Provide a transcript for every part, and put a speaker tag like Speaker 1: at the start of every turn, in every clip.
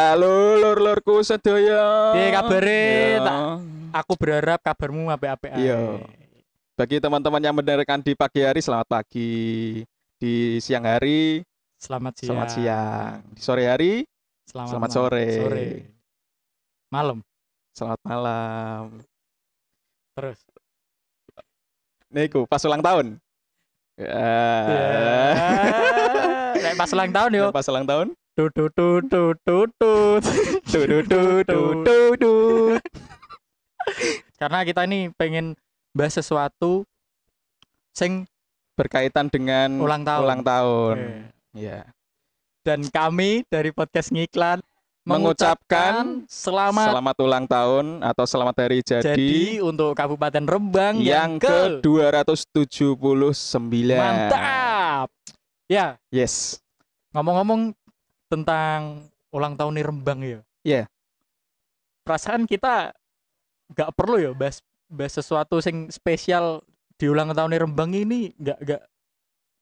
Speaker 1: Ya, lorku sedaya.
Speaker 2: Piye kabare?
Speaker 1: Ya.
Speaker 2: Iya, Tak- Aku berharap kabarmu apik-apik ae.
Speaker 1: Iya. Bagi teman-teman yang mendengarkan di pagi hari selamat pagi. Di siang hari
Speaker 2: Selamat siang.
Speaker 1: selamat siang. Di sore hari
Speaker 2: Selamat,
Speaker 1: Selamat
Speaker 2: malam.
Speaker 1: sore.
Speaker 2: Sore. Malam
Speaker 1: selamat malam.
Speaker 2: terus.
Speaker 1: Niku pas ulang tahun. Ya.
Speaker 2: Ya. Nek Iya. pas ulang tahun yo.
Speaker 1: Pas ulang tahun.
Speaker 2: Tut tut tut tut tut tut.
Speaker 1: Du, du, du, du, du, du.
Speaker 2: Karena kita ini pengen bahas sesuatu sing
Speaker 1: Berkaitan dengan
Speaker 2: ulang tahun.
Speaker 1: Hmm, ulang tahun.
Speaker 2: Iya.
Speaker 1: Ya.
Speaker 2: Dan kami dari podcast Ngiklan
Speaker 1: Mengucapkan
Speaker 2: mengucapkan selamat
Speaker 1: Selamat ulang tahun atau selamat hari
Speaker 2: jadi,
Speaker 1: jadi,
Speaker 2: untuk Kabupaten Rembang yang,
Speaker 1: yang ke 279.
Speaker 2: mantap. Ya,
Speaker 1: Yes.
Speaker 2: ngomong-ngomong tentang ulang tahun di Rembang ya.
Speaker 1: Iya.
Speaker 2: Perasaan kita nggak perlu ya bahas bahas sesuatu sing spesial di ulang tahun di Rembang ini nggak nggak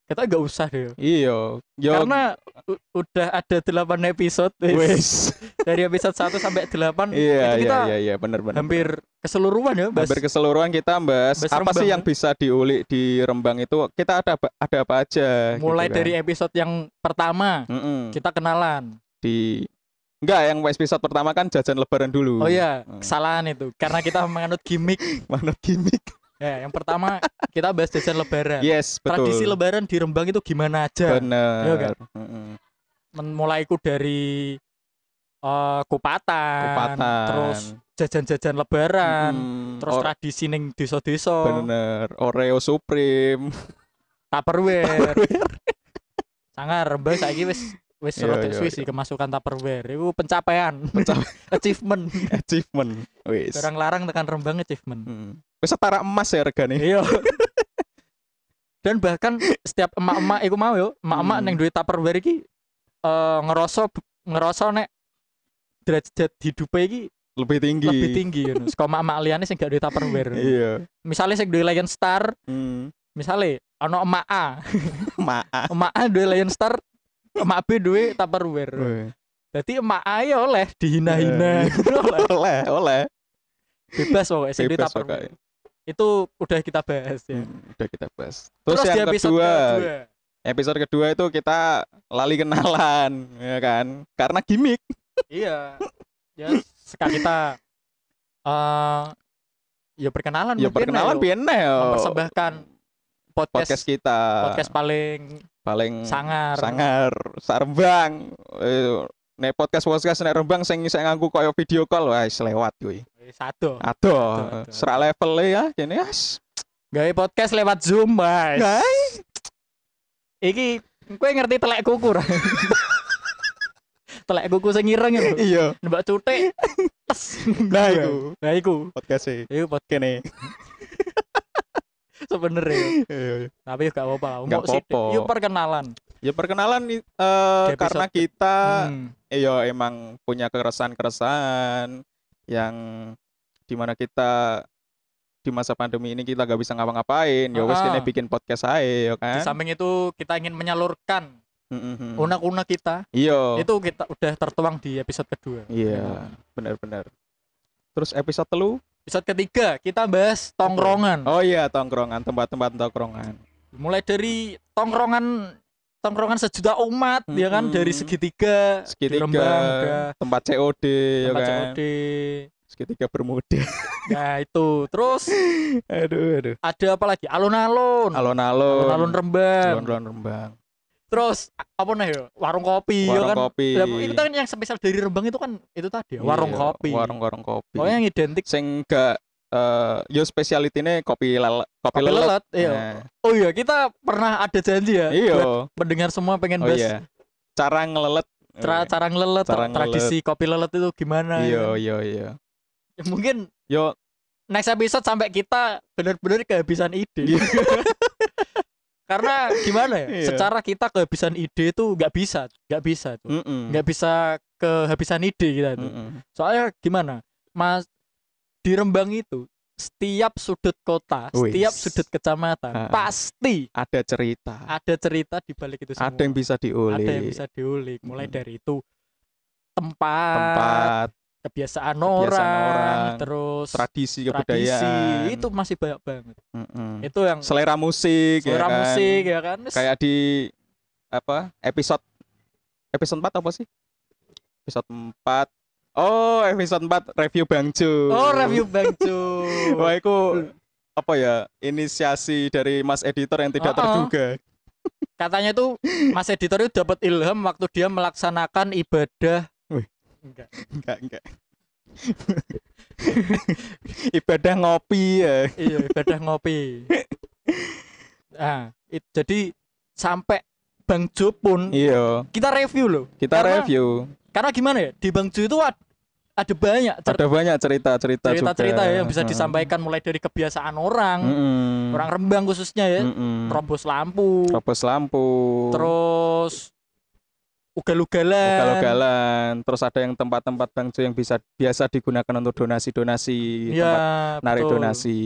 Speaker 2: kita nggak usah deh. ya.
Speaker 1: Iya. Yo.
Speaker 2: Karena u- udah ada 8 episode wis.
Speaker 1: wes.
Speaker 2: dari episode 1 sampai 8
Speaker 1: Iya,
Speaker 2: itu
Speaker 1: iya,
Speaker 2: kita
Speaker 1: iya, iya, benar benar.
Speaker 2: hampir keseluruhan ya bahas
Speaker 1: Hampir keseluruhan kita bahas
Speaker 2: bahas
Speaker 1: apa sih
Speaker 2: Rembang.
Speaker 1: yang bisa diulik di Rembang itu kita ada apa- ada apa aja.
Speaker 2: mulai
Speaker 1: gitu kan.
Speaker 2: dari episode yang pertama
Speaker 1: Mm-mm.
Speaker 2: kita kenalan.
Speaker 1: di enggak yang episode pertama kan jajan lebaran dulu.
Speaker 2: Oh iya,
Speaker 1: Hmm.
Speaker 2: kesalahan itu karena kita menganut gimmick.
Speaker 1: Mana gimmick?
Speaker 2: Ya, yang pertama kita bahas jajan lebaran.
Speaker 1: Yes, Iya, betul.
Speaker 2: Kan. Tradisi lebaran di Rembang itu gimana aja?
Speaker 1: Bener.
Speaker 2: Iya kan?
Speaker 1: Mm-mm.
Speaker 2: Memulaiku dari eh, kupatan,
Speaker 1: Kupatan.
Speaker 2: terus jajan-jajan lebaran,
Speaker 1: Mm,
Speaker 2: terus
Speaker 1: or-
Speaker 2: tradisi ning desa-desa,
Speaker 1: bener. Oreo Supreme.
Speaker 2: tupperware. Sangar Rembang saiki wis wis
Speaker 1: Iya,
Speaker 2: rada
Speaker 1: iya,
Speaker 2: suwi sih kemasukan tupperware. Itu pencapaian,
Speaker 1: Pencapaian.
Speaker 2: achievement.
Speaker 1: Achievement. Wis.
Speaker 2: Orang larang tekan Rembang achievement.
Speaker 1: Mm. Wis setara emas ya regane.
Speaker 2: Iya. Dan bahkan setiap emak-emak iku mau yo, emak-emak
Speaker 1: Hmm.
Speaker 2: neng duit tupperware iki eh ngerasa ngerasa nek derajat hidupnya iki
Speaker 1: Lebih tinggi.
Speaker 2: lebih tinggi ngono. Saka emak-emak liyane sing gak duwe tupperware.
Speaker 1: Iya.
Speaker 2: Misale sing duwe Lion Star,
Speaker 1: Mm.
Speaker 2: misale ana emak A,
Speaker 1: Maaf.
Speaker 2: emak A duwe Lion Star, emak B duwe tupperware.
Speaker 1: Weh.
Speaker 2: Jadi emak A ya oleh
Speaker 1: Iya,
Speaker 2: dihina-hina, oleh
Speaker 1: Oleh, oleh.
Speaker 2: bebas pokoknya sing duwe
Speaker 1: Bebas
Speaker 2: tupperware. Itu udah kita bahas ya.
Speaker 1: Hmm, udah kita bahas. Terus,
Speaker 2: di
Speaker 1: yang
Speaker 2: episode
Speaker 1: kedua,
Speaker 2: kedua.
Speaker 1: episode kedua itu kita lali kenalan, ya kan? Karena gimmick.
Speaker 2: Iya. Ya sekali kita eh ya perkenalan
Speaker 1: Ya
Speaker 2: mungkin
Speaker 1: perkenalan
Speaker 2: ya,
Speaker 1: pieneh yo.
Speaker 2: mempersembahkan podcast
Speaker 1: podcast
Speaker 2: podcast,
Speaker 1: kita
Speaker 2: paling
Speaker 1: paling
Speaker 2: sangar.
Speaker 1: sangar sarembang. Eh, Nek podcast podcast nek Rembang sing sing nganggo koyo video call wah selewat kuwi.
Speaker 2: Eh, Satu.
Speaker 1: Aduh,
Speaker 2: aduh.
Speaker 1: serak level ya kene Nah, as.
Speaker 2: Gawe podcast lewat Zoom, Mas.
Speaker 1: Guys.
Speaker 2: Iki kowe ngerti telek kuku ra? telek kuku sing ireng ya, lho.
Speaker 1: Iya,
Speaker 2: Mbak cutik. Tes.
Speaker 1: nah iku
Speaker 2: Nah, iku.
Speaker 1: podcast e
Speaker 2: Iku podcast
Speaker 1: kene.
Speaker 2: sebenarnya.
Speaker 1: Iya, iya.
Speaker 2: Tapi gak apa-apa. lah.
Speaker 1: Gak
Speaker 2: Umuk sithik.
Speaker 1: apa-apa.
Speaker 2: Iku perkenalan.
Speaker 1: Ya perkenalan eh,
Speaker 2: Di episode
Speaker 1: karena
Speaker 2: ke-
Speaker 1: kita
Speaker 2: Hmm.
Speaker 1: Iya emang punya keresahan-keresahan yang dimana kita di masa pandemi ini kita gak bisa ngapa-ngapain ya wes
Speaker 2: Ah.
Speaker 1: kene bikin podcast ae ya
Speaker 2: Di
Speaker 1: kan
Speaker 2: samping itu kita ingin menyalurkan
Speaker 1: Mm-mm.
Speaker 2: unek-unek kita
Speaker 1: iya
Speaker 2: itu kita udah tertuang di episode kedua.
Speaker 1: iya benar-benar terus episode telu
Speaker 2: Episode ketiga kita bahas tongkrongan.
Speaker 1: oh iya tongkrongan tempat-tempat tongkrongan
Speaker 2: Mulai dari tongkrongan tongkrongan sejuta umat ya kan
Speaker 1: Mm-mm.
Speaker 2: dari segitiga, di
Speaker 1: segitiga
Speaker 2: Rembang udah
Speaker 1: tempat COD ya
Speaker 2: tempat
Speaker 1: kan
Speaker 2: COD.
Speaker 1: segitiga bermuda
Speaker 2: Nah, itu. Terus
Speaker 1: aduh aduh
Speaker 2: ada apa lagi? Alun-alun.
Speaker 1: alon-alon
Speaker 2: Hmm. Alun-alun Rembang.
Speaker 1: alon-alon Rembang
Speaker 2: Terus a- apa nih ya? Warung kopi ya
Speaker 1: warung
Speaker 2: kan.
Speaker 1: kopi
Speaker 2: Lah, Itu kan yang spesial dari Rembang itu kan itu tadi ya, warung
Speaker 1: Iya,
Speaker 2: kopi.
Speaker 1: warung-warung kopi
Speaker 2: Pokoknya yang identik
Speaker 1: sing gak eh yo specialitine kopi lele
Speaker 2: kopi
Speaker 1: kopi, lelet.
Speaker 2: lelet, iya. Oh iya, kita pernah ada janji ya.
Speaker 1: Nah, iya.
Speaker 2: buat Pendengar semua pengen
Speaker 1: Oh
Speaker 2: bahas
Speaker 1: iya. oh Cara ngelelet.
Speaker 2: Tra- cara ngelelet
Speaker 1: Cara
Speaker 2: tra- tradisi kopi lelet itu gimana
Speaker 1: Iya,
Speaker 2: ya kan?
Speaker 1: iya, iya.
Speaker 2: Ya, mungkin
Speaker 1: Yo,
Speaker 2: next episode sampai kita benar-benar kehabisan ide
Speaker 1: Iya.
Speaker 2: karena gimana ya
Speaker 1: Iya.
Speaker 2: secara kita kehabisan ide itu nggak bisa nggak bisa tuh
Speaker 1: mm-mm.
Speaker 2: nggak bisa kehabisan ide kita tuh
Speaker 1: Mm-mm.
Speaker 2: soalnya gimana mas di Rembang itu setiap sudut kota
Speaker 1: Wis.
Speaker 2: setiap sudut kecamatan
Speaker 1: Ha.
Speaker 2: pasti
Speaker 1: ada cerita.
Speaker 2: ada cerita di balik itu semua
Speaker 1: Ada yang bisa diulik.
Speaker 2: ada yang bisa diulik mulai
Speaker 1: Mm.
Speaker 2: dari itu tempat,
Speaker 1: tempat,
Speaker 2: kebiasaan,
Speaker 1: Kebiasaan
Speaker 2: orang,
Speaker 1: orang,
Speaker 2: terus
Speaker 1: tradisi
Speaker 2: tradisi
Speaker 1: kebudayaan
Speaker 2: itu masih banyak banget
Speaker 1: Mm-mm.
Speaker 2: itu yang
Speaker 1: selera musik ya
Speaker 2: selera
Speaker 1: kan?
Speaker 2: musik ya kan Terus
Speaker 1: kayak di apa episode episode 4 apa sih episode 4 oh episode 4 review Bang Jo
Speaker 2: oh review Bang Ju
Speaker 1: wah itu apa ya inisiasi dari Mas Editor yang tidak
Speaker 2: Uh-uh.
Speaker 1: terduga
Speaker 2: katanya tuh Mas Editor itu dapat ilham waktu dia melaksanakan ibadah
Speaker 1: Wih.
Speaker 2: Enggak.
Speaker 1: enggak enggak ibadah ngopi ya
Speaker 2: iya ibadah ngopi nah it- jadi sampai Bang Jo pun
Speaker 1: iya
Speaker 2: kita review loh
Speaker 1: kita
Speaker 2: Karena-
Speaker 1: review
Speaker 2: karena gimana ya di Bang Jo itu ad- ada banyak cer-
Speaker 1: ada banyak cerita cerita
Speaker 2: cerita-cerita ya yang bisa disampaikan mulai dari kebiasaan orang
Speaker 1: Hmm.
Speaker 2: orang Rembang khususnya ya robos lampu
Speaker 1: robos lampu
Speaker 2: terus ugal-ugalan
Speaker 1: galau-galan terus ada yang tempat-tempat Bang Jo yang bisa biasa digunakan untuk donasi-donasi
Speaker 2: ya
Speaker 1: tempat narik
Speaker 2: betul.
Speaker 1: donasi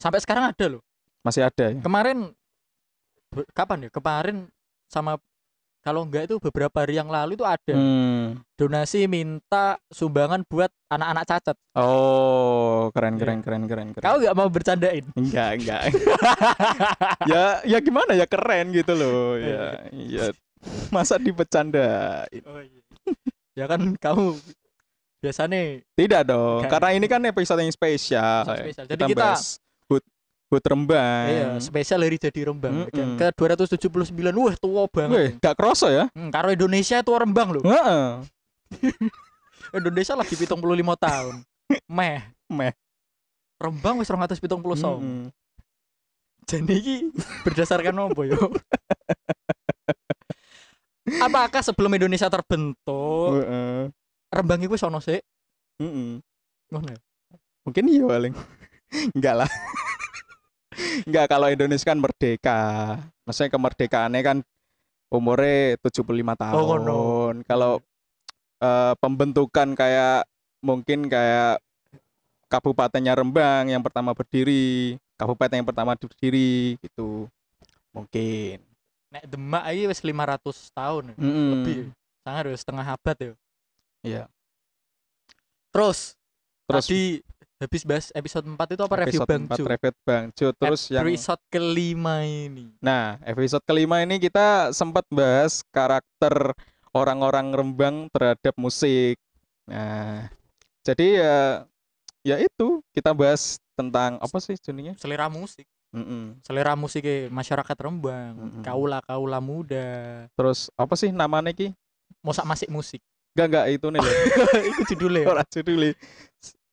Speaker 2: sampai sekarang ada loh
Speaker 1: masih ada ya
Speaker 2: kemarin be- kapan ya kemarin sama kalau enggak itu beberapa hari yang lalu itu ada
Speaker 1: Hmm.
Speaker 2: donasi minta sumbangan buat anak-anak cacat
Speaker 1: oh
Speaker 2: Iya.
Speaker 1: keren keren keren keren keren
Speaker 2: kau nggak mau bercandain
Speaker 1: enggak enggak ya ya gimana ya keren gitu loh ya
Speaker 2: Iya.
Speaker 1: ya masa dipecanda
Speaker 2: Oh, iya. ya kan kamu biasanya
Speaker 1: tidak dong
Speaker 2: Enggak.
Speaker 1: karena ini kan episode yang spesial
Speaker 2: Episode spesial. Jadi kita-
Speaker 1: bahas hut hut rembang
Speaker 2: iya, spesial dari jadi Rembang
Speaker 1: Mm-mm.
Speaker 2: ke 279 wah tua
Speaker 1: Weh,
Speaker 2: banget
Speaker 1: nggak kerasa ya
Speaker 2: Hmm, karo Indonesia tua Rembang loh
Speaker 1: Heeh.
Speaker 2: Indonesia lagi 75 tahun. Meh,
Speaker 1: Meh.
Speaker 2: Rembang wis 270 song.
Speaker 1: Mm-mm.
Speaker 2: Jadi iki berdasarkan apa yo? Apakah sebelum Indonesia terbentuk,
Speaker 1: Heeh. Hmm.
Speaker 2: Rembang iku wis ono sik?
Speaker 1: Mm-mm.
Speaker 2: Ngono ya?
Speaker 1: mungkin iya paling enggak lah enggak kalau Indonesia kan merdeka maksudnya kemerdekaannya kan umurnya 75 tahun
Speaker 2: Oh, no.
Speaker 1: kalau eh, pembentukan kayak mungkin kayak kabupatennya Rembang yang pertama berdiri kabupaten yang pertama berdiri gitu mungkin
Speaker 2: Nek Demak iki wis 500 tahun ya.
Speaker 1: Mm-mm.
Speaker 2: lebih. Sangat ya, setengah abad ya.
Speaker 1: Mm. Iya.
Speaker 2: Terus,
Speaker 1: terus
Speaker 2: tadi habis bahas episode 4 itu apa review
Speaker 1: episode
Speaker 2: Bang
Speaker 1: empat,
Speaker 2: Ju?
Speaker 1: review Bang Jo terus yang
Speaker 2: Episode kelima ini.
Speaker 1: Nah, episode kelima ini kita sempat bahas karakter orang-orang Rembang terhadap musik. Nah, jadi ya ya itu kita bahas tentang apa sih juninya?
Speaker 2: Selera musik.
Speaker 1: Mm-mm.
Speaker 2: selera musiknya masyarakat Rembang,
Speaker 1: Mm-mm.
Speaker 2: kaula kaula muda,
Speaker 1: Terus apa sih namanya ki?
Speaker 2: mosak masik musik.
Speaker 1: Enggak enggak itu nih. loh.
Speaker 2: Itu judulnya.
Speaker 1: Ora judulnya.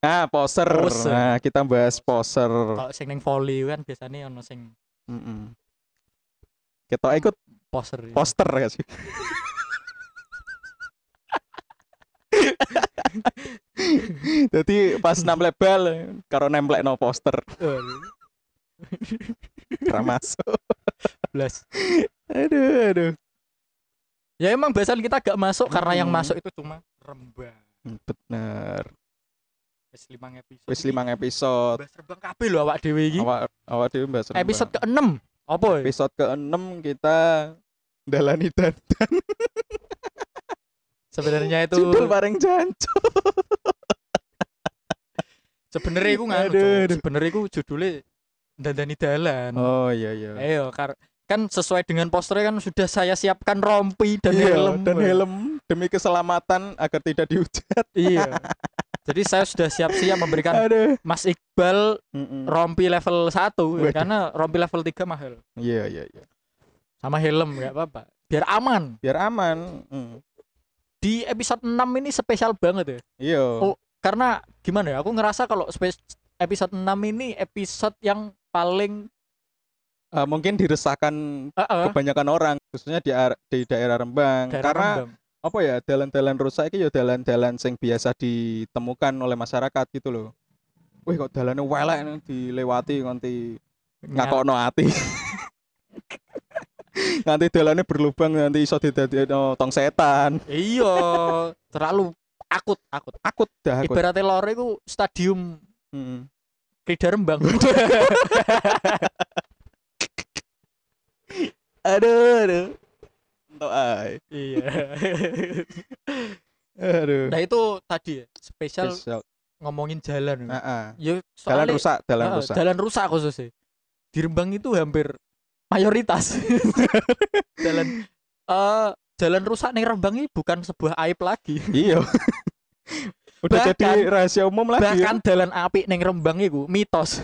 Speaker 1: Ah, poser.
Speaker 2: Poser.
Speaker 1: Nah, kita bahas poser.
Speaker 2: Kalau sing ning volley kan biasanya ono sing
Speaker 1: Mm-mm. Kita ikut
Speaker 2: poser. ya.
Speaker 1: poster ya sih. Jadi pas nempel bal karo nemplek no poster
Speaker 2: Eh,
Speaker 1: ra masuk.
Speaker 2: Blas.
Speaker 1: Aduh aduh.
Speaker 2: Ya emang bahasan kita gak masuk karena yang
Speaker 1: Mm-mm.
Speaker 2: masuk itu cuma Rembang.
Speaker 1: Bener.
Speaker 2: Wis 5 episode.
Speaker 1: Wis
Speaker 2: Iki
Speaker 1: 5 episode.
Speaker 2: Bahas Rembang kabeh lho awak dhewe iki.
Speaker 1: Awak awak dhewe Mbak Serembang.
Speaker 2: Episode ke-6. Apa ya?
Speaker 1: episode ke-6 kita dalani dan
Speaker 2: Sebenarnya itu
Speaker 1: judul paling jancuk.
Speaker 2: sebenarnya iku nganu.
Speaker 1: Aduh,
Speaker 2: Cuk.
Speaker 1: aduh.
Speaker 2: Sebenarnya iku judulnya Dandani Dalan.
Speaker 1: Oh iya iya.
Speaker 2: Ayo, kar- kan sesuai dengan posternya kan sudah saya siapkan rompi dan
Speaker 1: Iya,
Speaker 2: helm.
Speaker 1: dan helm demi keselamatan agar tidak dihujat.
Speaker 2: Iya. Jadi saya sudah siap-siap memberikan
Speaker 1: Aduh.
Speaker 2: Mas Iqbal
Speaker 1: Mm-mm.
Speaker 2: rompi level 1 ya,
Speaker 1: Waduh.
Speaker 2: karena rompi level 3 mahal.
Speaker 1: Iya iya iya.
Speaker 2: Sama helm nggak apa-apa. Biar aman.
Speaker 1: Biar aman. Mm.
Speaker 2: Di episode 6 ini spesial banget ya.
Speaker 1: Iya.
Speaker 2: Oh. Karena gimana ya? Aku ngerasa kalau spes- episode 6 ini episode yang paling
Speaker 1: Eh, mungkin diresahkan
Speaker 2: eh, eh,
Speaker 1: kebanyakan orang khususnya di ar- di daerah Rembang
Speaker 2: daerah
Speaker 1: karena
Speaker 2: Rembang.
Speaker 1: apa ya dalan-dalan rusak itu ya dalan-dalan sing biasa ditemukan oleh masyarakat gitu loh Wih kok dalannya welek nih, dilewati nganti
Speaker 2: Iya.
Speaker 1: ngakono ati nanti dalannya berlubang nanti iso didadekno tong setan
Speaker 2: Iya, terlalu akut akut.
Speaker 1: akut dah akut
Speaker 2: Ibaratnya lore itu stadium
Speaker 1: Mm.
Speaker 2: Krida Rembang.
Speaker 1: aduh aduh Entuk ae.
Speaker 2: iya.
Speaker 1: Aduh.
Speaker 2: Nah itu tadi ya, spesial
Speaker 1: Spesial.
Speaker 2: ngomongin jalan.
Speaker 1: Ah, ah.
Speaker 2: Ya, soalnya-
Speaker 1: Jalan
Speaker 2: Oh,
Speaker 1: rusak, jalan
Speaker 2: Heeh,
Speaker 1: rusak.
Speaker 2: Jalan rusak khususnya. Di Rembang itu hampir mayoritas jalan eh jalan rusak nih Rembang ini bukan sebuah aib lagi.
Speaker 1: Iya. Udah
Speaker 2: Bahkan-
Speaker 1: jadi rahasia umum lagi. ya.
Speaker 2: Bahkan jalan api neng Rembang itu mitos.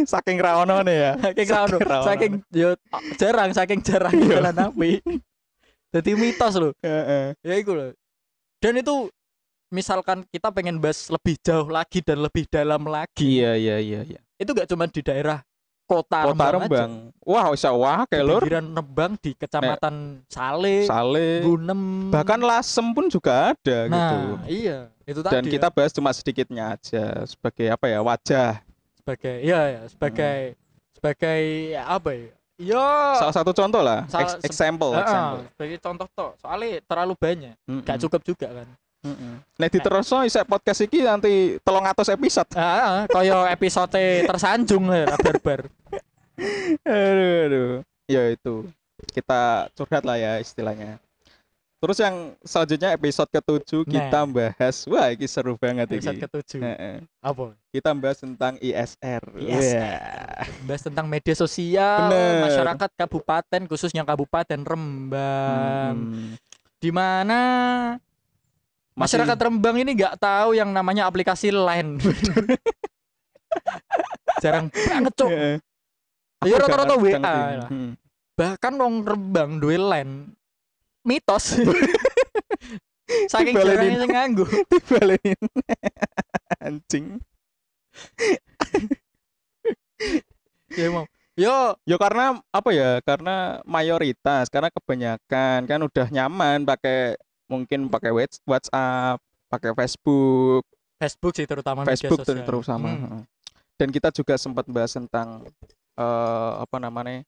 Speaker 1: Saking raonone ya.
Speaker 2: saking rano,
Speaker 1: rawan.
Speaker 2: saking yo, jarang, saking jarang
Speaker 1: Iya.
Speaker 2: jalan api. Jadi mitos loh.
Speaker 1: Heeh.
Speaker 2: Ya itu loh. Dan itu misalkan kita pengen bahas lebih jauh lagi dan lebih dalam lagi,
Speaker 1: Iya iya iya iya.
Speaker 2: itu gak cuma di daerah kota,
Speaker 1: Kota
Speaker 2: Rembang, aja.
Speaker 1: Rembang. Wah, usah wah kayak lur.
Speaker 2: pinggiran Rembang di kecamatan Sale,
Speaker 1: Sale.
Speaker 2: Gunem.
Speaker 1: Bahkan Lasem pun juga ada
Speaker 2: nah,
Speaker 1: gitu.
Speaker 2: iya, itu tadi.
Speaker 1: Dan
Speaker 2: ya,
Speaker 1: kita bahas cuma sedikitnya aja sebagai apa ya wajah.
Speaker 2: sebagai ya, ya sebagai sebagai apa ya? Ya,
Speaker 1: Salah satu contoh lah.
Speaker 2: Salah
Speaker 1: Ex-
Speaker 2: se-
Speaker 1: example,
Speaker 2: heeh,
Speaker 1: example. Hmm.
Speaker 2: sebagai contoh toh. Soalnya terlalu banyak,
Speaker 1: Mm-mm.
Speaker 2: gak cukup juga kan.
Speaker 1: Mm-mm. Nah, diterusno isek podcast iki nanti 300 episode.
Speaker 2: Ah, koyo episode tersanjung ya, lah barbar.
Speaker 1: aduh, aduh. Ya itu. Kita curhat lah ya istilahnya. Terus yang selanjutnya episode ketujuh kita
Speaker 2: Nah.
Speaker 1: bahas wah ini seru banget
Speaker 2: episode
Speaker 1: ini. Eh.
Speaker 2: ketujuh.
Speaker 1: Heeh.
Speaker 2: Apa?
Speaker 1: Kita bahas tentang ISR.
Speaker 2: ISR.
Speaker 1: Wah.
Speaker 2: Bahas tentang media sosial
Speaker 1: Bener.
Speaker 2: masyarakat kabupaten khususnya kabupaten Um, Rembang.
Speaker 1: Hmm.
Speaker 2: Di mana
Speaker 1: Masih-
Speaker 2: masyarakat Rembang ini nggak tahu yang namanya aplikasi Line. Jarang banget, Cok.
Speaker 1: Heeh.
Speaker 2: Ya
Speaker 1: Aku
Speaker 2: rata-rata
Speaker 1: udah
Speaker 2: WA
Speaker 1: ngerti.
Speaker 2: lah.
Speaker 1: Hmm.
Speaker 2: Bahkan wong Rembang duwe Line. Mitos. Saking
Speaker 1: Dibalenin.
Speaker 2: jarangnya sing nganggo.
Speaker 1: Dibalenin. Anjing.
Speaker 2: Ya mau. Yo,
Speaker 1: Ya karena apa ya? Karena mayoritas, karena kebanyakan kan udah nyaman pakai mungkin pakai Whats- WhatsApp, pakai Facebook,
Speaker 2: Facebook sih terutama media
Speaker 1: Facebook
Speaker 2: sosial.
Speaker 1: terus sama.
Speaker 2: Hmm.
Speaker 1: Dan kita juga sempat bahas tentang eh apa namanya?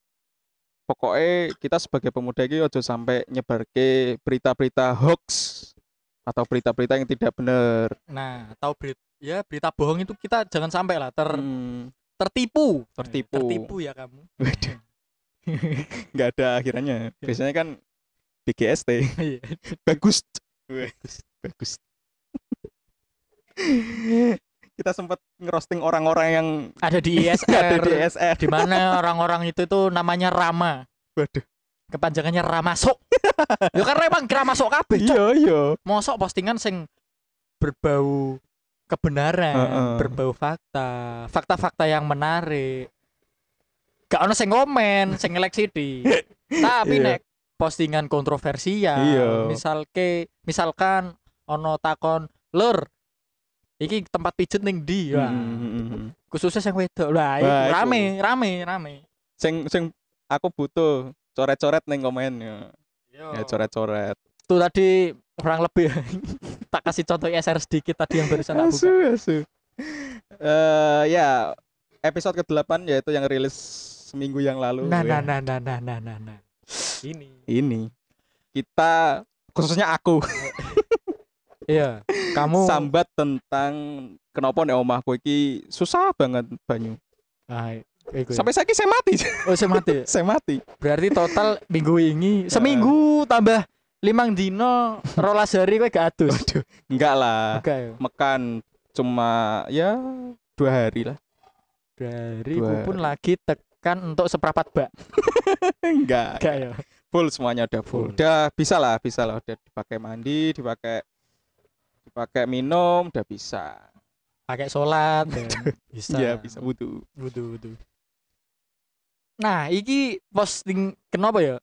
Speaker 1: Pokoknya kita sebagai pemuda ini ojo sampai nyebar ke berita-berita hoax atau berita-berita yang tidak benar.
Speaker 2: Nah, tahu berita ya berita bohong itu kita jangan sampai lah ter
Speaker 1: Hmm,
Speaker 2: tertipu.
Speaker 1: Tertipu.
Speaker 2: Tertipu ya kamu.
Speaker 1: waduh, nggak ada akhirannya. Biasanya kan BGST.
Speaker 2: Iya.
Speaker 1: bagus bagus bagus kita sempat ngerosting orang-orang yang
Speaker 2: Ada di
Speaker 1: Iya, ada di
Speaker 2: ISR
Speaker 1: SR
Speaker 2: di mana orang-orang itu tuh namanya Rama.
Speaker 1: waduh
Speaker 2: Kepanjangannya Ramasok. ya karena emang Ramasok kabeh, Cok.
Speaker 1: iya iya
Speaker 2: Mosok postingan sing berbau kebenaran,
Speaker 1: Heeh.
Speaker 2: berbau fakta, fakta-fakta yang menarik. Gak ono sing komen, sing ngeleksi di. Tapi nek
Speaker 1: Iya.
Speaker 2: postingan kontroversial,
Speaker 1: Iya.
Speaker 2: misalke misalkan ono takon, "Lur, iki tempat pijet ning ndi?" Wah,
Speaker 1: Mm, mm, mm, mm.
Speaker 2: khususnya sing wedok. Lah, iku
Speaker 1: Wah, iku.
Speaker 2: rame, rame, rame.
Speaker 1: sing sing aku butuh coret-coret neng komen ya
Speaker 2: Yo.
Speaker 1: Ya, coret-coret
Speaker 2: Itu tadi kurang lebih tak kasih contoh ISR sedikit tadi yang barusan tak buka.
Speaker 1: asu asu Eh, ya episode ke-8 yaitu yang rilis seminggu yang lalu
Speaker 2: Nah, nah, nah,
Speaker 1: ya.
Speaker 2: nah, nah, nah, nah, nah. Ini.
Speaker 1: ini kita khususnya aku
Speaker 2: Iya, kamu
Speaker 1: sambat tentang kenapa nek omahku iki susah banget banyu.
Speaker 2: Ah, iku ya.
Speaker 1: Sampai saiki saya mati,
Speaker 2: oh, saya mati.
Speaker 1: saya mati.
Speaker 2: Berarti total minggu ini
Speaker 1: Ya.
Speaker 2: seminggu tambah limang dino rolas hari kowe gak adus.
Speaker 1: Waduh, enggak lah.
Speaker 2: Oke, ya.
Speaker 1: Mekan cuma ya dua hari lah.
Speaker 2: dari
Speaker 1: Dua.
Speaker 2: ku pun lagi tekan untuk seprapat bak.
Speaker 1: Enggak.
Speaker 2: Gak ya.
Speaker 1: Full semuanya udah full.
Speaker 2: Full.
Speaker 1: Udah bisa lah, bisa lah. Udah dipakai mandi, dipakai dipakai minum, udah bisa.
Speaker 2: Pakai sholat ya. bisa.
Speaker 1: Iya, bisa butuh.
Speaker 2: Butuh, butuh. Nah, iki posting kenapa ya?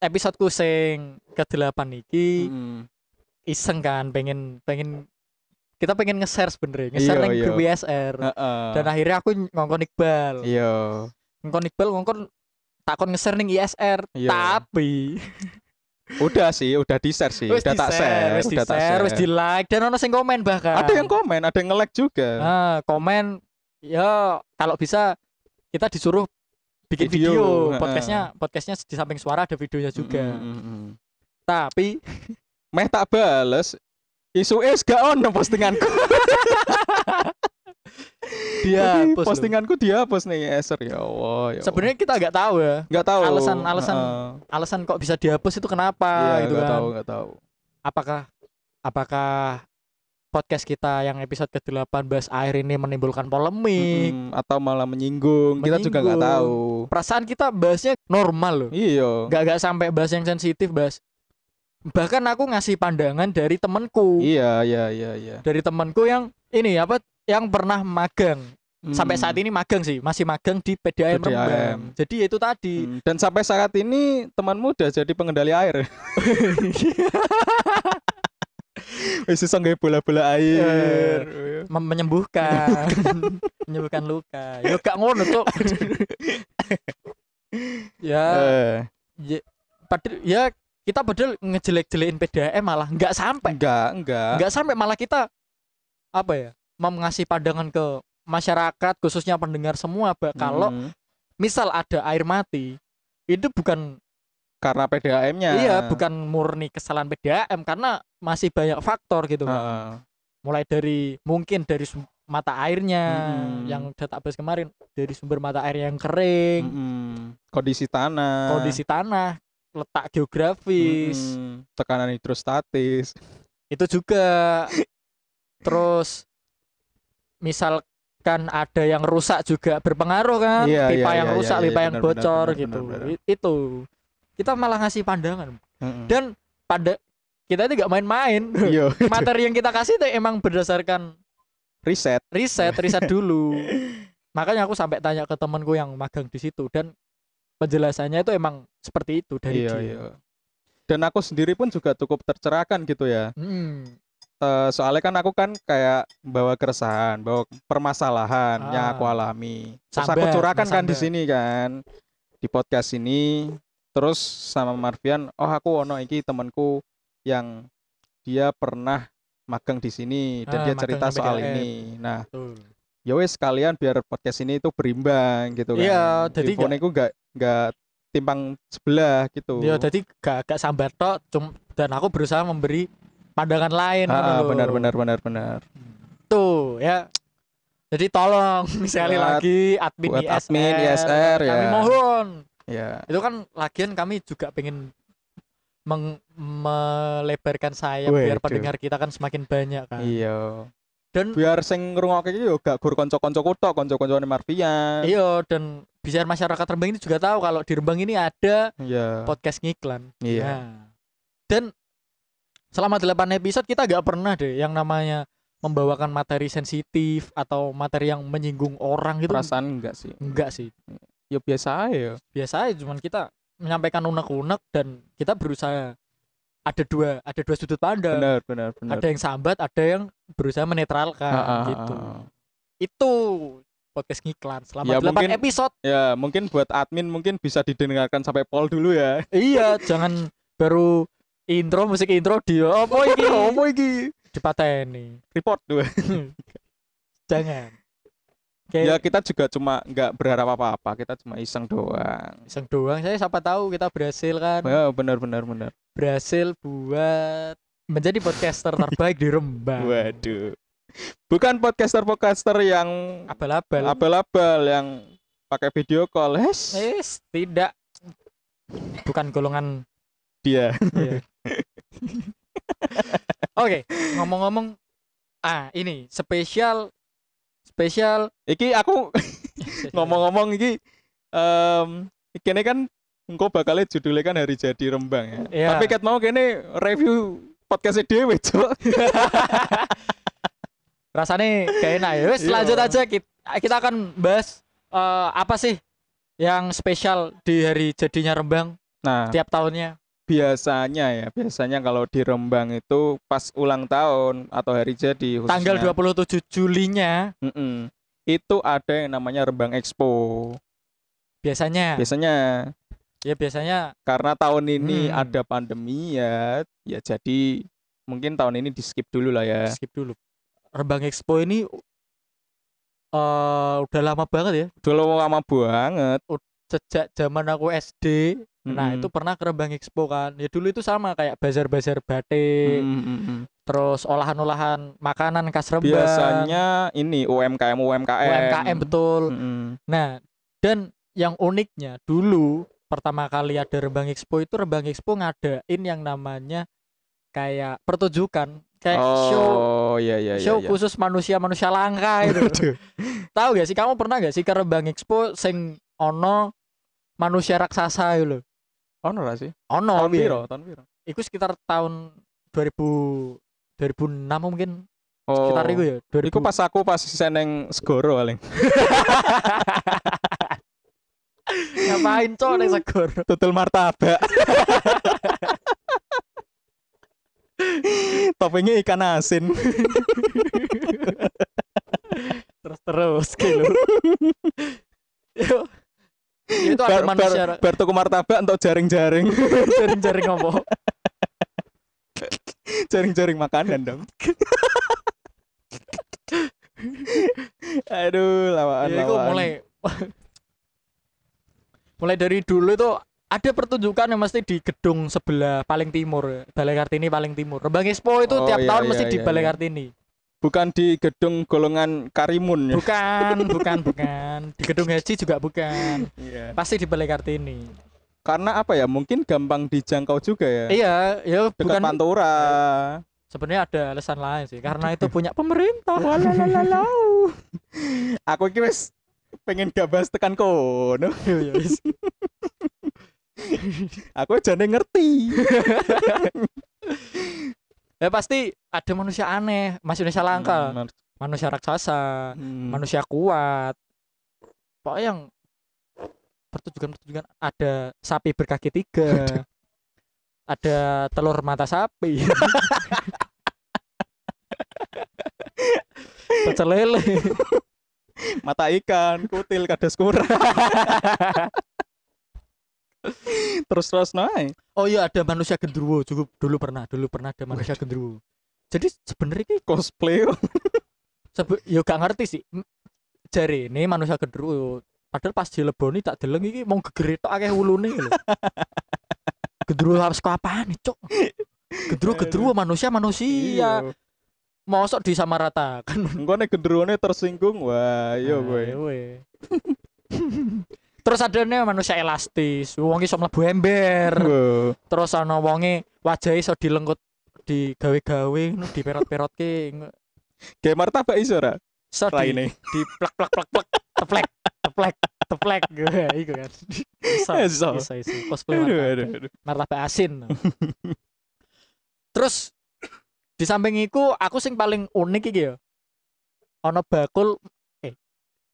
Speaker 2: Episodeku sing ke-8 iki
Speaker 1: Hmm.
Speaker 2: iseng kan pengen pengen kita pengen nge-share sebenernya nge-share
Speaker 1: Iya,
Speaker 2: nang
Speaker 1: iya.
Speaker 2: grup WSR dan
Speaker 1: Heeh.
Speaker 2: akhirnya aku ngongkon Iqbal
Speaker 1: Iya.
Speaker 2: ngongkon Iqbal ngongkon takon nge-share ning ISR
Speaker 1: Iya.
Speaker 2: tapi
Speaker 1: Udah sih, udah di-share sih.
Speaker 2: wis
Speaker 1: Iya. Udah tak share,
Speaker 2: wis
Speaker 1: udah tak
Speaker 2: di-share wis
Speaker 1: share.
Speaker 2: di-like dan ono sing komen bahkan
Speaker 1: Ada yang komen, ada yang nge-like juga.
Speaker 2: Ah, komen ya kalau bisa kita disuruh bikin
Speaker 1: Video,
Speaker 2: video,
Speaker 1: heeh.
Speaker 2: podcastnya podcastnya di samping suara ada videonya juga
Speaker 1: Mm, mm, mm, mm.
Speaker 2: tapi
Speaker 1: Meh tak bales. Isu es gak ono postinganku.
Speaker 2: dia
Speaker 1: Jadi
Speaker 2: hapus loh.
Speaker 1: postinganku dihapus nih Eser ya Allah. Ya Allah.
Speaker 2: sebenarnya kita nggak tahu ya
Speaker 1: nggak tahu.
Speaker 2: alasan- alasan-
Speaker 1: Heeh.
Speaker 2: alasan kok bisa dihapus itu kenapa
Speaker 1: Iya,
Speaker 2: gitu
Speaker 1: nggak
Speaker 2: kan
Speaker 1: tahu, nggak tahu.
Speaker 2: apakah apakah podcast kita yang episode ke-8 bahas air ini menimbulkan polemik.
Speaker 1: Mm-mm. atau malah menyinggung, kita juga nggak
Speaker 2: Menyinggung.
Speaker 1: tahu.
Speaker 2: Perasaan kita bahasnya normal loh.
Speaker 1: Iya.
Speaker 2: Gak gak sampai bahas yang sensitif, bahas bahkan aku ngasih pandangan dari temenku,
Speaker 1: Iya, iya, iya, iya.
Speaker 2: dari temenku yang ini apa yang pernah magang. Sampai
Speaker 1: Mm.
Speaker 2: saat ini magang sih, masih magang di PDAM,
Speaker 1: PDAM.
Speaker 2: Rembang. Jadi itu tadi.
Speaker 1: Mm. Dan sampai saat ini temanmu udah jadi pengendali air. Wis iso nggawe bola-bola air.
Speaker 2: Mem- menyembuhkan menyembuhkan luka yo gak ngono cuk ya
Speaker 1: Eh,
Speaker 2: ya, padahal- ya kita padahal ngejelek-jelekin PDAM malah nggak sampai
Speaker 1: enggak, enggak.
Speaker 2: nggak sampai malah kita apa ya mau ngasih pandangan ke masyarakat khususnya pendengar semua Mbak, kalau
Speaker 1: Mm.
Speaker 2: misal ada air mati itu bukan
Speaker 1: karena PDAM-nya.
Speaker 2: iya bukan murni kesalahan PDAM karena masih banyak faktor gitu Mbak.
Speaker 1: Heeh.
Speaker 2: mulai dari mungkin dari sum- mata airnya
Speaker 1: Mm.
Speaker 2: yang database kemarin dari sumber mata air yang kering
Speaker 1: Hmm. Mm-mm. Kondisi tanah.
Speaker 2: kondisi tanah letak geografis
Speaker 1: Mm-mm. tekanan hidrostatis. Hmm.
Speaker 2: itu juga terus misalkan ada yang rusak juga berpengaruh kan
Speaker 1: Iya,
Speaker 2: pipa
Speaker 1: iya,
Speaker 2: yang
Speaker 1: iya,
Speaker 2: rusak
Speaker 1: iya,
Speaker 2: pipa
Speaker 1: iya,
Speaker 2: yang
Speaker 1: benar, benar,
Speaker 2: bocor
Speaker 1: benar,
Speaker 2: gitu
Speaker 1: benar, benar.
Speaker 2: I- itu kita malah ngasih pandangan
Speaker 1: Mm-mm.
Speaker 2: dan pada kita itu nggak main-main
Speaker 1: Iya,
Speaker 2: materi yang kita kasih itu emang berdasarkan
Speaker 1: riset.
Speaker 2: riset riset dulu makanya aku sampai tanya ke temanku yang magang di situ dan penjelasannya itu emang seperti itu dari
Speaker 1: Iya,
Speaker 2: dia
Speaker 1: iya. Dan aku sendiri pun juga cukup tercerahkan gitu ya.
Speaker 2: Mm,
Speaker 1: Eh, soalnya kan aku kan kayak bawa keresahan, bawa permasalahan yang aku
Speaker 2: Ah.
Speaker 1: alami. Terus aku
Speaker 2: Sambat,
Speaker 1: curahkan kan di
Speaker 2: sambat.
Speaker 1: sini kan di podcast ini. Terus sama Marvian, oh aku ono iki temanku yang dia pernah magang di sini
Speaker 2: Ah,
Speaker 1: dan dia cerita
Speaker 2: magangnya
Speaker 1: soal
Speaker 2: PDAM.
Speaker 1: ini. Nah,
Speaker 2: betul
Speaker 1: ya wes kalian biar podcast ini itu berimbang gitu kan.
Speaker 2: Iya, jadi
Speaker 1: Infonya ku nggak nggak timpang sebelah gitu.
Speaker 2: ya jadi gak gak sambat tok cum- dan aku berusaha memberi pandangan lain
Speaker 1: Ah,
Speaker 2: gitu
Speaker 1: ah,
Speaker 2: loh.
Speaker 1: benar benar benar benar.
Speaker 2: tuh ya jadi tolong sekali
Speaker 1: Buat-
Speaker 2: lagi admin
Speaker 1: Buat
Speaker 2: ISR,
Speaker 1: admin ISR ya.
Speaker 2: kami mohon
Speaker 1: Ya.
Speaker 2: itu kan lagian kami juga pengen meng- melebarkan sayap biar
Speaker 1: Waduh.
Speaker 2: pendengar kita kan semakin banyak kan
Speaker 1: Iya.
Speaker 2: dan
Speaker 1: Biar sing ngrungokke iki yo gak gur kanca-kanca kutok, kanca-kancane Marvian.
Speaker 2: Iya dan biar masyarakat Rembang ini juga tahu kalau di Rembang ini ada
Speaker 1: Iya.
Speaker 2: podcast ngiklan.
Speaker 1: Iya.
Speaker 2: Nah, Dan selama 8 episode kita nggak pernah deh yang namanya membawakan materi sensitif atau materi yang menyinggung orang gitu.
Speaker 1: Perasaan enggak sih?
Speaker 2: Enggak sih.
Speaker 1: Ya biasa aja ya.
Speaker 2: Biasa aja cuman kita menyampaikan unek-unek dan kita berusaha ada dua ada dua sudut pandang.
Speaker 1: Benar benar benar.
Speaker 2: Ada yang sambat, ada yang berusaha menetralkan
Speaker 1: Ah, ah,
Speaker 2: gitu.
Speaker 1: ah, ah.
Speaker 2: Itu podcast ngiklan selama
Speaker 1: Ya,
Speaker 2: 8
Speaker 1: mungkin-
Speaker 2: episode.
Speaker 1: Ya, mungkin buat admin mungkin bisa didengarkan sampai pol dulu ya.
Speaker 2: Iya, jangan baru intro musik intro dia "Oh, opo iki
Speaker 1: Apa iki?
Speaker 2: dipateni.
Speaker 1: Report dulu.
Speaker 2: Jangan.
Speaker 1: Ya
Speaker 2: Kayak
Speaker 1: kita juga cuma nggak berharap apa-apa, kita cuma iseng doang.
Speaker 2: iseng doang saya siapa tahu kita berhasil kan.
Speaker 1: Ya, benar benar benar.
Speaker 2: Berhasil buat menjadi podcaster terbaik di
Speaker 1: Nah.
Speaker 2: Rembang.
Speaker 1: Waduh. Bukan podcaster-podcaster yang
Speaker 2: Abal-abal.
Speaker 1: abal-abal yang pakai video call. Hes,
Speaker 2: Yes, tidak bukan golongan
Speaker 1: dia.
Speaker 2: Iya. Oke, ngomong-ngomong ah ini spesial spesial
Speaker 1: Iki aku
Speaker 2: Iya.
Speaker 1: ngomong-ngomong iki em kene kan engko bakalnya judulnya kan hari jadi Rembang ya.
Speaker 2: Iya.
Speaker 1: Tapi ket mau kene review podcastnya dhewe, Cuk.
Speaker 2: rasanya gak enak ya wes
Speaker 1: Iya.
Speaker 2: lanjut aja kita, kita akan bahas eh, apa sih yang spesial di hari jadinya Rembang
Speaker 1: Nah,
Speaker 2: tiap tahunnya
Speaker 1: biasanya ya, biasanya kalau di Rembang itu pas ulang tahun atau hari jadi khususnya.
Speaker 2: tanggal 27 Julinya
Speaker 1: Mm-mm. Itu ada yang namanya Rembang Expo.
Speaker 2: biasanya
Speaker 1: Iya. Biasanya
Speaker 2: ya biasanya
Speaker 1: karena tahun ini
Speaker 2: Hmm.
Speaker 1: ada pandemi ya ya jadi mungkin tahun ini di skip dulu lah ya
Speaker 2: skip dulu Rembang Expo ini eh udah lama banget ya
Speaker 1: dulu lama banget
Speaker 2: sejak zaman aku SD nah
Speaker 1: Mm-mm.
Speaker 2: itu pernah ke Rembang Expo kan ya dulu itu sama kayak bazar-bazar batik
Speaker 1: Mm, mm, mm.
Speaker 2: terus olahan-olahan makanan khas Rembang
Speaker 1: biasanya Mm. ini UMKM UMKM
Speaker 2: UMKM betul
Speaker 1: Mm-mm.
Speaker 2: Nah, dan yang uniknya dulu pertama kali ada Rembang Expo itu Rembang Expo ngadain yang namanya kayak pertunjukan kayak Eh, show
Speaker 1: Oh, iya iya iya.
Speaker 2: show
Speaker 1: iya.
Speaker 2: khusus manusia-manusia langka itu
Speaker 1: Waduh.
Speaker 2: tahu gak sih kamu pernah gak sih ke Rembang Expo sing ono manusia raksasa gitu loh
Speaker 1: Ono ra sih?
Speaker 2: ono
Speaker 1: Tahun
Speaker 2: iya.
Speaker 1: piro? Tahun piro?
Speaker 2: itu sekitar tahun 2000 2006 mungkin
Speaker 1: Oh.
Speaker 2: sekitar itu ya 2000
Speaker 1: Iku pas aku pas seneng segoro paling.
Speaker 2: ngapain cowok neng segor
Speaker 1: Tutul martabak. Toppingnya ikan asin.
Speaker 2: terus terus gitu Yo. Ya, itu ada
Speaker 1: Bar, bar,
Speaker 2: manusia
Speaker 1: bar tuku martabak untuk jaring-jaring,
Speaker 2: jaring-jaring ngomong
Speaker 1: jaring-jaring makanan dong. Aduh, lawaan
Speaker 2: Ya, itu
Speaker 1: lawaan.
Speaker 2: mulai mulai dari dulu itu ada pertunjukan yang mesti di gedung sebelah paling timur Balai Kartini paling timur Rembang Expo itu
Speaker 1: Oh,
Speaker 2: tiap
Speaker 1: iya,
Speaker 2: tahun
Speaker 1: iya,
Speaker 2: mesti di
Speaker 1: iya,
Speaker 2: Balai
Speaker 1: iya.
Speaker 2: Kartini
Speaker 1: Bukan di gedung golongan Karimun ya.
Speaker 2: bukan bukan bukan di gedung Haji juga bukan
Speaker 1: Iya.
Speaker 2: pasti di Balai Kartini
Speaker 1: Karena apa ya? Mungkin gampang dijangkau juga ya.
Speaker 2: iya ya
Speaker 1: Dekat
Speaker 2: bukan
Speaker 1: Pantura.
Speaker 2: sebenarnya ada alasan lain sih karena itu punya pemerintah
Speaker 1: Walalalau. aku iki wis pengen gak bahas tekan kono.
Speaker 2: Yo, yo, wis.
Speaker 1: Aku jane ngerti.
Speaker 2: ya pasti ada manusia aneh manusia langka
Speaker 1: Hmm,
Speaker 2: manusia raksasa
Speaker 1: hmm.
Speaker 2: manusia kuat pokoknya yang pertunjukan-pertunjukan ada sapi berkaki tiga ada telur mata sapi pecel lele
Speaker 1: mata ikan, kutil, kadas kura. terus terus naik.
Speaker 2: oh iya ada manusia genderuwo juga dulu pernah dulu pernah ada manusia genderuwo jadi sebenarnya ini
Speaker 1: Cosplay.
Speaker 2: sebe yo gak ngerti sih M- jari ini manusia genderuwo padahal pas dileboni tak deleng iki mau gegere tok akeh ulune lho genderuwo harus apaan nih cok genderuwo genderuwo manusia
Speaker 1: Iya.
Speaker 2: manusia mosok disamaratakan
Speaker 1: Engko nek genderuwone tersinggung,
Speaker 2: Ah,
Speaker 1: wah yo kowe.
Speaker 2: Ayo, we. terus ada nih manusia elastis wong iso mlebu ember
Speaker 1: Wow.
Speaker 2: terus ana wonge wajahe iso dilengkut di gawe-gawe ngono diperot-perotke ngono.
Speaker 1: Kayak martabak iso ora?
Speaker 2: iso di
Speaker 1: Raine.
Speaker 2: di plek plek plek plek teplek teplek teplek gue iku kan iso
Speaker 1: Iso.
Speaker 2: iso iso cosplay
Speaker 1: Aduh,
Speaker 2: martabak.
Speaker 1: aduh, aduh.
Speaker 2: martabak asin terus di samping iku aku sing paling unik iki ya ana bakul eh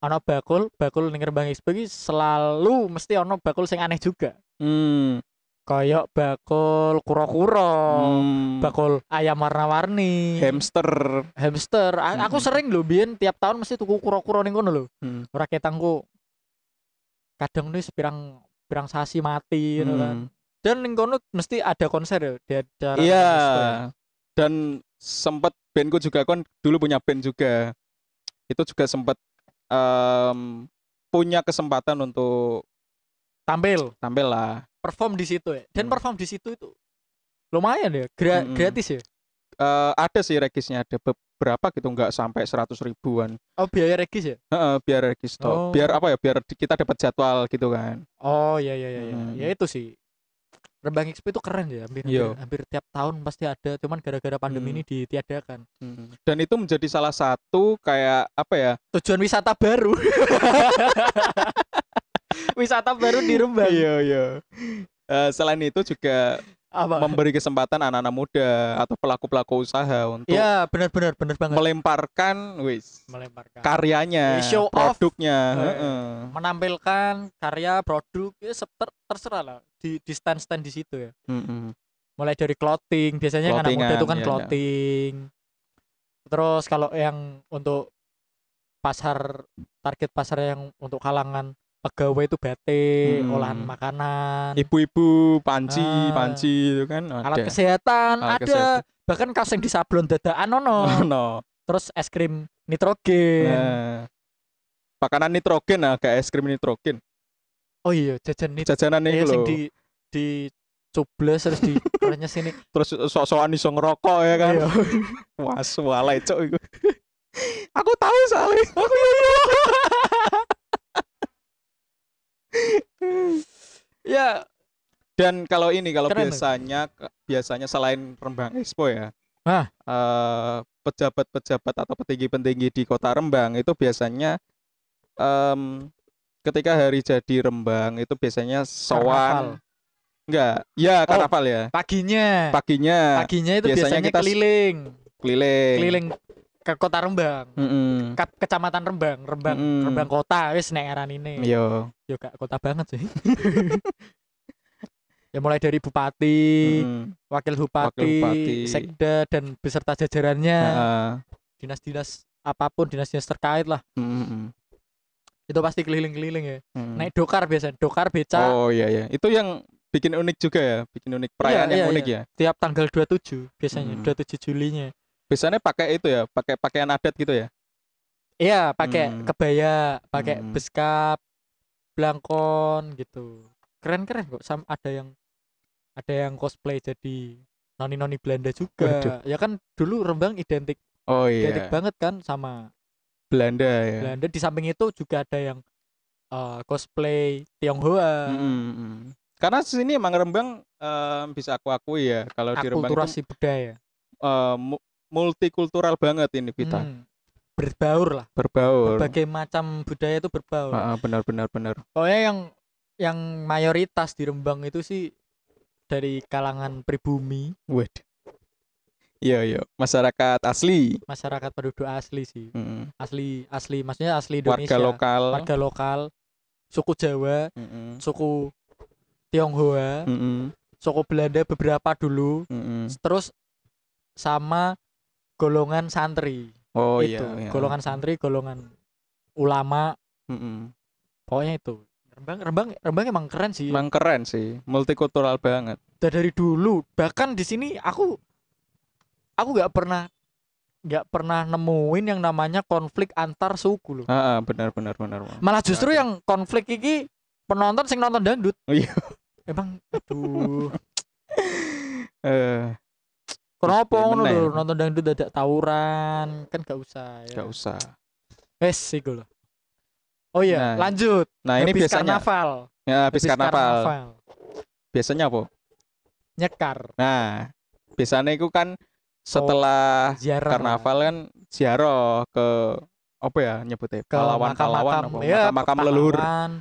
Speaker 2: ana bakul bakul ning Rembang Expo iki selalu mesti ana bakul sing aneh juga
Speaker 1: Hmm.
Speaker 2: kayak bakul kura-kura
Speaker 1: Hmm.
Speaker 2: bakul ayam warna-warni
Speaker 1: hamster.
Speaker 2: hamster A- aku
Speaker 1: Mm-mm.
Speaker 2: sering lho biyen tiap tahun mesti tuku kura-kura ning kono lho
Speaker 1: Hmm.
Speaker 2: ora ketangku kadang nih sepirang pirang sasi mati gitu kan.
Speaker 1: Hmm.
Speaker 2: dan ning kono mesti ada konser ya di acara
Speaker 1: Iya.
Speaker 2: Expo ya.
Speaker 1: Dan sempat bandku juga kon dulu punya band juga. Itu juga sempat em, punya kesempatan untuk
Speaker 2: tampil
Speaker 1: tampil lah.
Speaker 2: perform di situ ya dan
Speaker 1: Hmm.
Speaker 2: perform di situ itu lumayan ya gra-
Speaker 1: Mm-mm.
Speaker 2: gratis ya
Speaker 1: Eh, ada sih regisnya ada beberapa gitu nggak sampai 100 ribuan.
Speaker 2: oh biaya regis ya
Speaker 1: Heeh, biar regis
Speaker 2: Oh.
Speaker 1: toh. Biar apa ya? Biar di- kita dapat jadwal gitu kan.
Speaker 2: oh iya iya iya iya.
Speaker 1: Mm.
Speaker 2: ya itu sih Rembang Expo itu keren ya hampir, hampir
Speaker 1: Iya.
Speaker 2: hampir tiap tahun pasti ada cuman gara-gara pandemi
Speaker 1: Mm.
Speaker 2: ini ditiadakan
Speaker 1: Hmm. Dan itu menjadi salah satu kayak apa ya?
Speaker 2: tujuan wisata baru wisata baru di Rembang
Speaker 1: Iya, iya. Eh, selain itu juga
Speaker 2: apa
Speaker 1: memberi kesempatan anak-anak muda atau pelaku-pelaku usaha untuk
Speaker 2: ya benar-benar benar banget
Speaker 1: melemparkan wis
Speaker 2: melemparkan
Speaker 1: karyanya,
Speaker 2: Eh, show off.
Speaker 1: produknya,
Speaker 2: Eh.
Speaker 1: heeh.
Speaker 2: menampilkan karya produk ya se- ter- terserah lah di di stand stand di situ ya
Speaker 1: Mm-mm.
Speaker 2: mulai dari clothing biasanya yang anak muda itu
Speaker 1: Clothingan,
Speaker 2: kan
Speaker 1: iya, iya.
Speaker 2: clothing terus kalau yang untuk pasar target pasar yang untuk kalangan pegawai itu batik
Speaker 1: Hmm.
Speaker 2: olahan makanan
Speaker 1: Ibu-ibu panci,
Speaker 2: Kan. Ah.
Speaker 1: panci itu kan
Speaker 2: alat
Speaker 1: ada.
Speaker 2: kesehatan
Speaker 1: Alat
Speaker 2: ada
Speaker 1: kesehatan.
Speaker 2: bahkan kaos yang disablon dadaan ono
Speaker 1: no.
Speaker 2: terus es krim nitrogen
Speaker 1: Nah. Makanan nitrogen nah, kayak es krim nitrogen.
Speaker 2: oh iya jajan nitrogen
Speaker 1: Jajanan itu
Speaker 2: Iya, sing
Speaker 1: loh.
Speaker 2: di di cubles terus di kerennya sini
Speaker 1: Terus sok-sokan iso ngerokok ya kan.
Speaker 2: Iya.
Speaker 1: Wah, suwalai cok iku. Aku tahu soalnya. Aku
Speaker 2: ya
Speaker 1: Dan kalau ini kalau Ya.
Speaker 2: Keren, Bang.
Speaker 1: biasanya biasanya selain Rembang Expo ya.
Speaker 2: Ah.
Speaker 1: eh, pejabat-pejabat atau petinggi-petinggi di Kota Rembang itu biasanya em, ketika hari jadi Rembang itu biasanya sowan enggak ya karnaval ya
Speaker 2: Paginya.
Speaker 1: paginya
Speaker 2: Paginya itu
Speaker 1: nah, biasanya
Speaker 2: biasanya,
Speaker 1: kita s-
Speaker 2: keliling,
Speaker 1: keliling
Speaker 2: keliling ke kota Rembang,
Speaker 1: Mm-mm.
Speaker 2: ke- kecamatan Rembang, Rembang,
Speaker 1: Mm-mm.
Speaker 2: Rembang kota wis nek aran ini.
Speaker 1: Yo.
Speaker 2: Yo gak kota banget sih. ya mulai dari bupati,
Speaker 1: Mm-mm.
Speaker 2: wakil bupati,
Speaker 1: Hmm. bupati. Nah,
Speaker 2: sekda dan beserta jajarannya,
Speaker 1: Heeh.
Speaker 2: dinas-dinas apapun, dinas-dinas terkait lah.
Speaker 1: Mm-mm.
Speaker 2: Itu pasti keliling-keliling ya.
Speaker 1: Mm-mm.
Speaker 2: Naik dokar biasanya, dokar beca
Speaker 1: Hmm. Oh iya ya, itu yang bikin unik juga ya, bikin unik perayaan
Speaker 2: Iya,
Speaker 1: yang
Speaker 2: iya,
Speaker 1: unik ya.
Speaker 2: tiap tanggal 27 biasanya,
Speaker 1: Mm.
Speaker 2: 27 Julinya.
Speaker 1: Biasanya pakai itu ya, pakai pakaian adat gitu ya.
Speaker 2: Iya, pakai
Speaker 1: Hmm.
Speaker 2: kebaya, pakai
Speaker 1: Hmm.
Speaker 2: beskap, blangkon gitu. Keren-keren kok. Sam ada yang ada yang cosplay jadi noni-noni Belanda juga. Ya kan dulu Rembang identik
Speaker 1: Oh
Speaker 2: identik
Speaker 1: iya,
Speaker 2: banget kan sama
Speaker 1: Belanda ya.
Speaker 2: Belanda. Di samping itu juga ada yang eh, cosplay Tionghoa.
Speaker 1: Mm, mm, mm. Karena sini emang Rembang em, bisa aku akui ya, kalau di Rembang itu
Speaker 2: Akulturasi budaya.
Speaker 1: em, mu- multikultural banget ini kita,
Speaker 2: Hmm. Berbaur lah.
Speaker 1: berbaur.
Speaker 2: Berbagai macam budaya itu berbaur.
Speaker 1: Ah, ah, benar benar benar.
Speaker 2: Pokoknya yang yang mayoritas di Rembang itu sih dari kalangan pribumi,
Speaker 1: Wait. Iya iya, masyarakat asli,
Speaker 2: masyarakat penduduk asli sih.
Speaker 1: Mm,
Speaker 2: Asli asli maksudnya asli Indonesia.
Speaker 1: warga lokal.
Speaker 2: Warga lokal, suku Jawa,
Speaker 1: Mm,
Speaker 2: suku Tionghoa,
Speaker 1: mm, mm,
Speaker 2: suku Belanda beberapa dulu,
Speaker 1: mm, mm.
Speaker 2: terus sama golongan santri.
Speaker 1: Oh
Speaker 2: itu,
Speaker 1: iya. iya.
Speaker 2: Gitu, golongan santri, golongan ulama,
Speaker 1: Mm, mm.
Speaker 2: pokoknya itu. Rembang Rembang Rembang emang keren sih.
Speaker 1: Emang keren sih, multikultural banget.
Speaker 2: Da- dari dulu bahkan di sini aku aku nggak pernah nggak pernah nemuin yang namanya konflik antar suku loh
Speaker 1: Ah, ah, benar benar benar. Bang.
Speaker 2: malah justru
Speaker 1: Nggak ada.
Speaker 2: yang konflik iki penonton sing nonton dangdut
Speaker 1: Iya.
Speaker 2: emang aduh
Speaker 1: Eh,
Speaker 2: kenapa
Speaker 1: Iya,
Speaker 2: ngono
Speaker 1: meneh.
Speaker 2: lho, nonton dangdut dadak tawuran kan gak usah ya
Speaker 1: nggak usah.
Speaker 2: wes iku lho. oh iya
Speaker 1: Nah,
Speaker 2: lanjut
Speaker 1: Nah, ini
Speaker 2: Habis
Speaker 1: biasanya
Speaker 2: karnaval
Speaker 1: ya, habis karnaval. Biasanya apa?
Speaker 2: nyekar
Speaker 1: Nah, biasanya itu kan setelah
Speaker 2: ziarah
Speaker 1: karnaval kan ziarah ke apa ya nyebutnya?
Speaker 2: ke
Speaker 1: Pahlawan-pahlawan
Speaker 2: makam-makam
Speaker 1: apa?
Speaker 2: ya,
Speaker 1: Makam-makam leluhur.
Speaker 2: pahlawan.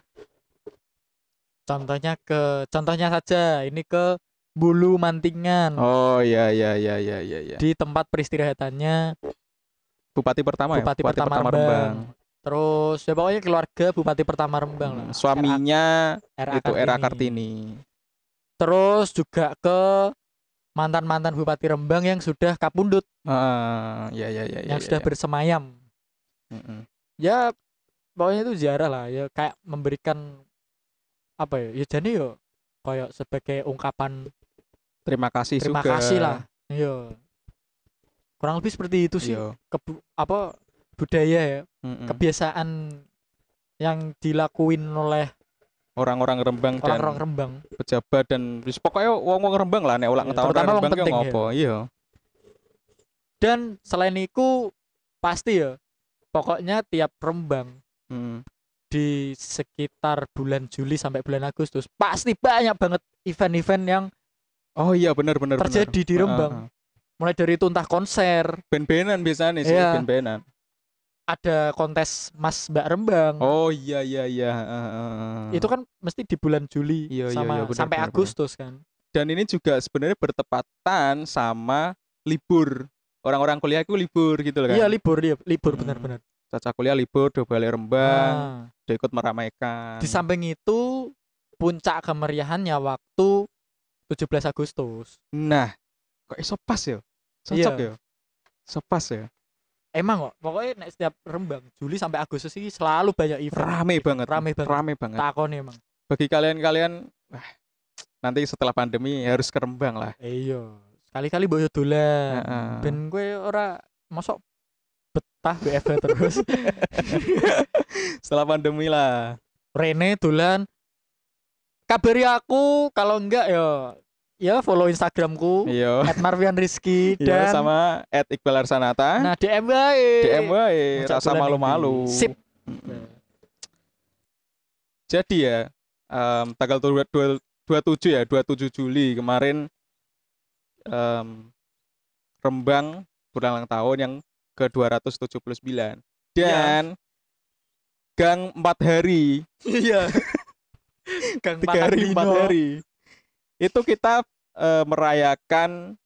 Speaker 2: Contohnya ke contohnya saja ini ke Bulu Mantingan
Speaker 1: Oh iya iya iya iya iya iya.
Speaker 2: di tempat peristirahatannya
Speaker 1: Bupati pertama ya?
Speaker 2: Bupati, Pertama, Rembang. Terus ya pokoknya keluarga Bupati Pertama Rembang lah.
Speaker 1: Hmm, Suaminya
Speaker 2: era,
Speaker 1: itu Era Kartini.
Speaker 2: Terus juga ke mantan-mantan Bupati Rembang yang sudah kapundut,
Speaker 1: Ah, ya ya ya ya.
Speaker 2: yang
Speaker 1: ya,
Speaker 2: sudah
Speaker 1: ya.
Speaker 2: bersemayam.
Speaker 1: Mm-mm.
Speaker 2: Ya pokoknya itu ziarah lah ya kayak memberikan apa ya? Ya jadi yo koyok sebagai ungkapan
Speaker 1: Terima kasih
Speaker 2: terima
Speaker 1: juga.
Speaker 2: kasih lah iya kurang lebih seperti itu sih
Speaker 1: Iya. Hmm.
Speaker 2: Kebu- apa budaya ya
Speaker 1: Mm-mm.
Speaker 2: kebiasaan yang dilakuin oleh
Speaker 1: Orang-orang Rembang dan
Speaker 2: orang-orang Rembang
Speaker 1: pejabat dan wis pokoknya wong-wong Rembang lah nek ulang
Speaker 2: Iya,
Speaker 1: tahun
Speaker 2: terutama wong
Speaker 1: Rembang ki
Speaker 2: penting ya.
Speaker 1: ngopo iya
Speaker 2: dan selain itu pasti ya pokoknya tiap Rembang
Speaker 1: Mm.
Speaker 2: di sekitar bulan Juli sampai bulan Agustus pasti banyak banget event-event yang
Speaker 1: oh iya bener bener bener.
Speaker 2: terjadi di
Speaker 1: Heeh,
Speaker 2: Rembang
Speaker 1: heeh.
Speaker 2: mulai dari itu entah konser
Speaker 1: ben-benan biasanya sih
Speaker 2: Iya.
Speaker 1: ben-benan
Speaker 2: ada kontes Mas Mbak Rembang
Speaker 1: oh iya iya iya heeh, heeh, heeh.
Speaker 2: itu kan mesti di bulan Juli
Speaker 1: Iya, iya,
Speaker 2: sama
Speaker 1: iya, benar,
Speaker 2: sampai
Speaker 1: benar, benar.
Speaker 2: Agustus kan
Speaker 1: dan ini juga sebenarnya bertepatan sama libur orang-orang kuliah itu libur gitu loh kan
Speaker 2: Iya libur dia, libur
Speaker 1: Hmm. Kan.
Speaker 2: benar-benar.
Speaker 1: Caca kuliah libur do balik Rembang
Speaker 2: Ah,
Speaker 1: do ikut meramaikan
Speaker 2: Di samping itu puncak kemeriahannya waktu 17 Agustus.
Speaker 1: nah kok iso pas ya cocok
Speaker 2: Iya.
Speaker 1: ya iso pas ya
Speaker 2: Emang kok, pokoknya nek setiap Rembang Juli sampai Agustus ini selalu banyak event.
Speaker 1: rame banget
Speaker 2: Gitu. Rame banget.
Speaker 1: rame banget
Speaker 2: Takon emang.
Speaker 1: bagi kalian-kalian wah, nanti setelah pandemi harus ke Rembang lah
Speaker 2: Eh, Iya. Sekali-kali boyo dolan.
Speaker 1: Heeh.
Speaker 2: Ben gue ora mosok betah BF terus.
Speaker 1: setelah pandemi lah
Speaker 2: Rene dolan. Kabari aku kalau enggak ya ya follow Instagramku
Speaker 1: iya
Speaker 2: @marvianrizky dan
Speaker 1: iya sama at Iqbal Arsanata
Speaker 2: Nah, DM wae.
Speaker 1: DM wae
Speaker 2: Ngajak
Speaker 1: rasa
Speaker 2: dolan
Speaker 1: malu-malu
Speaker 2: nanti. Sip.
Speaker 1: Mm-mm. jadi ya em, tanggal 22 27 ya 27 Juli kemarin em, Rembang berulang tahun yang ke-279
Speaker 2: Iya.
Speaker 1: dan Gang 4 hari
Speaker 2: Iya. Kang
Speaker 1: tiga hari empat
Speaker 2: Patardino.
Speaker 1: hari itu kita eh, merayakan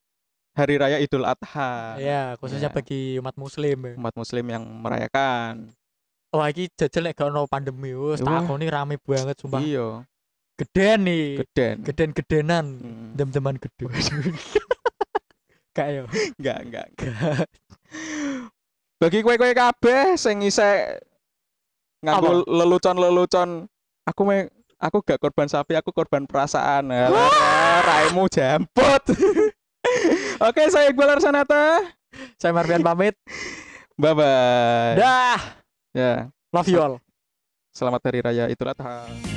Speaker 1: hari raya Idul Adha
Speaker 2: Ya, khususnya
Speaker 1: Iya.
Speaker 2: bagi umat muslim. ya.
Speaker 1: umat Muslim yang merayakan
Speaker 2: Wah, iki jajal nek gak ono pandemi, wis
Speaker 1: Wah. Iya.
Speaker 2: takoni rame banget sumpah.
Speaker 1: iyo
Speaker 2: Geden nih.
Speaker 1: geden
Speaker 2: Geden-gedenan.
Speaker 1: Mm.
Speaker 2: Dem-deman gede. Kak yo.
Speaker 1: enggak enggak bagi kue-kue kabeh sing isek nganggo lelucon-lelucon aku me aku gak korban sapi aku korban perasaan Alah, raimu jamput oke saya Iqbal Arsanata
Speaker 2: Saya Marvian pamit.
Speaker 1: bye bye
Speaker 2: Dah.
Speaker 1: ya
Speaker 2: Love you all.
Speaker 1: selamat hari raya Idul Adha